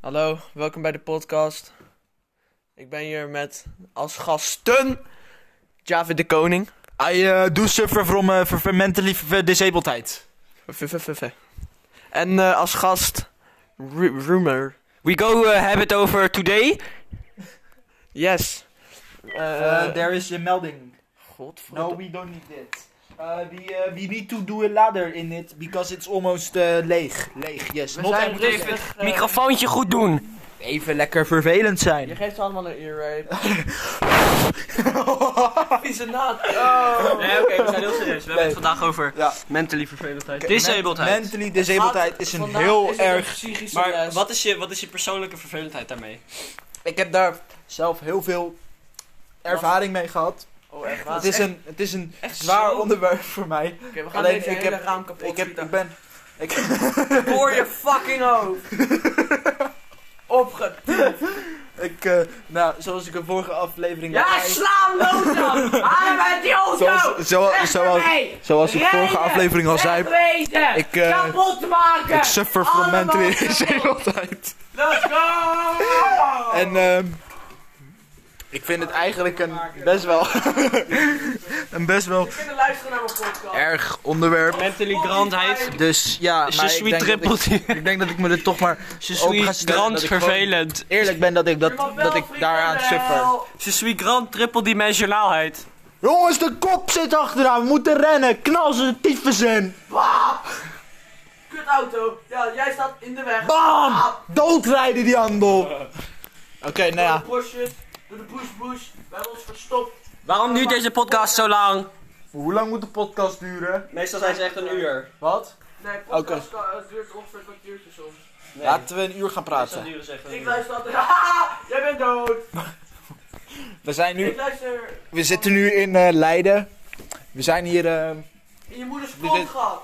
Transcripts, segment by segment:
Hallo, welkom bij de podcast. Ik ben hier met als gasten Javid de Koning. I uh, do suffer from, uh, from mentally f- disabledheid. En eh, als gast Ru- Rumor. We go uh, have it over today. Yes. Eh, there is a melding. Godverdomme. No, we don't need it. Uh, we, uh, we need to do a ladder in it because it's almost uh, leeg. Leeg, yes. We Not zijn empty. bezig met, eh, Microfoontje goed doen. Even lekker vervelend Je zijn. geeft ze allemaal een earrape. Vieze naad. Oh. Nee, oké, we zijn heel serieus. We hebben Nee. het vandaag over Ja. mentally vervelendheid. Disabledheid. Mentally disabledheid is een heel erg... psychische maar wat is, je, wat is je persoonlijke vervelendheid daarmee? Ik heb daar zelf heel veel ervaring mee gehad. Oh, echt waar. Het is een, het is een echt zwaar zo- onderwerp voor mij. Oké, we gaan Alleen, deze ik hele heb- raam kapot Ik, heb, schieten. ik ben... Ik, Voor je fucking hoofd. Opge... ik, eh, nou, zoals ik in vorige aflevering... Ja, al- sla hem dood dan! Haal hem uit die auto! Zoals, zoals, zoals, zoals ik vorige Rijden! aflevering al zei... Wegwezen! Ik, eh, Kapot maken! Ik suffer from Allemaal mentally kapot. disabledheid. Let's go! Oh. En ehm ik vind het eigenlijk een best wel, een best wel We kunnen luisteren naar mijn podcast. erg onderwerp. Mentally grandheid. Dus ja, maar ik denk, dat ik, ik denk dat ik me er toch maar Je sweet grand vervelend. eerlijk ben dat ik, dat, Iemand dat wel, ik daaraan vrienden, suffer. help. Je suis grand triple dimensionaalheid. Jongens, de kop zit achteraan. We moeten rennen. Knal ze de tyfus in. Kut auto. Ja, jij staat in de Nou weg. Bam! Doodrijden die handel. Oké, nou Door ja. de bosjes, door de bush bush. We hebben ons verstopt. Waarom duurt deze podcast zo lang? Hoe lang moet de podcast duren? Meestal zijn ze echt een uur. Wat? Nee, podcast kan- het duurt ongeveer een kwartiertje soms. Laten we een uur gaan praten. Ik luister altijd. Haha, jij bent dood. We zijn nu Ik luister We zitten nu in eh, Leiden. We zijn hier. eh, in je moeders Dit- kont gehad.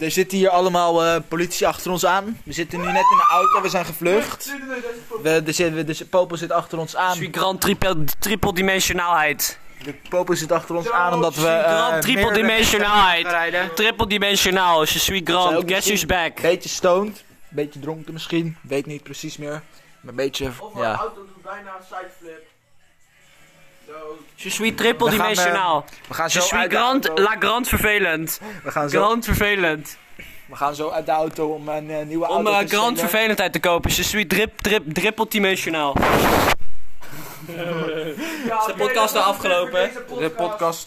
er zitten hier allemaal eh, politie achter ons aan. We zitten nu net in de auto, we zijn gevlucht. We, er zit, we, dus de popel zit achter ons Je aan. suis grand triple, triple dimensionaalheid. De popel zit achter ons aan omdat we. eh, Grand triple meerdere- dimensionaalheid. rijden. Triple dimensionaal. Je suis Zou grand. ook Guess who's misschien- back. Beetje stoned, beetje dronken misschien. Weet niet precies meer. Maar een beetje. Of een Ja. auto doet bijna een sideflip. Dood. Je suis triple We gaan, eh, dimensionaal. We gaan Je zo suis uit de grand, auto. la grand vervelend. We gaan zo, Grand vervelend. we gaan zo uit de auto om een eh, nieuwe Om auto eh, te grand stelen. vervelendheid te kopen. Je suis drip, drip, triple dimensionaal. Ja, de oké, podcast dat al was het afgelopen? voor deze De podcast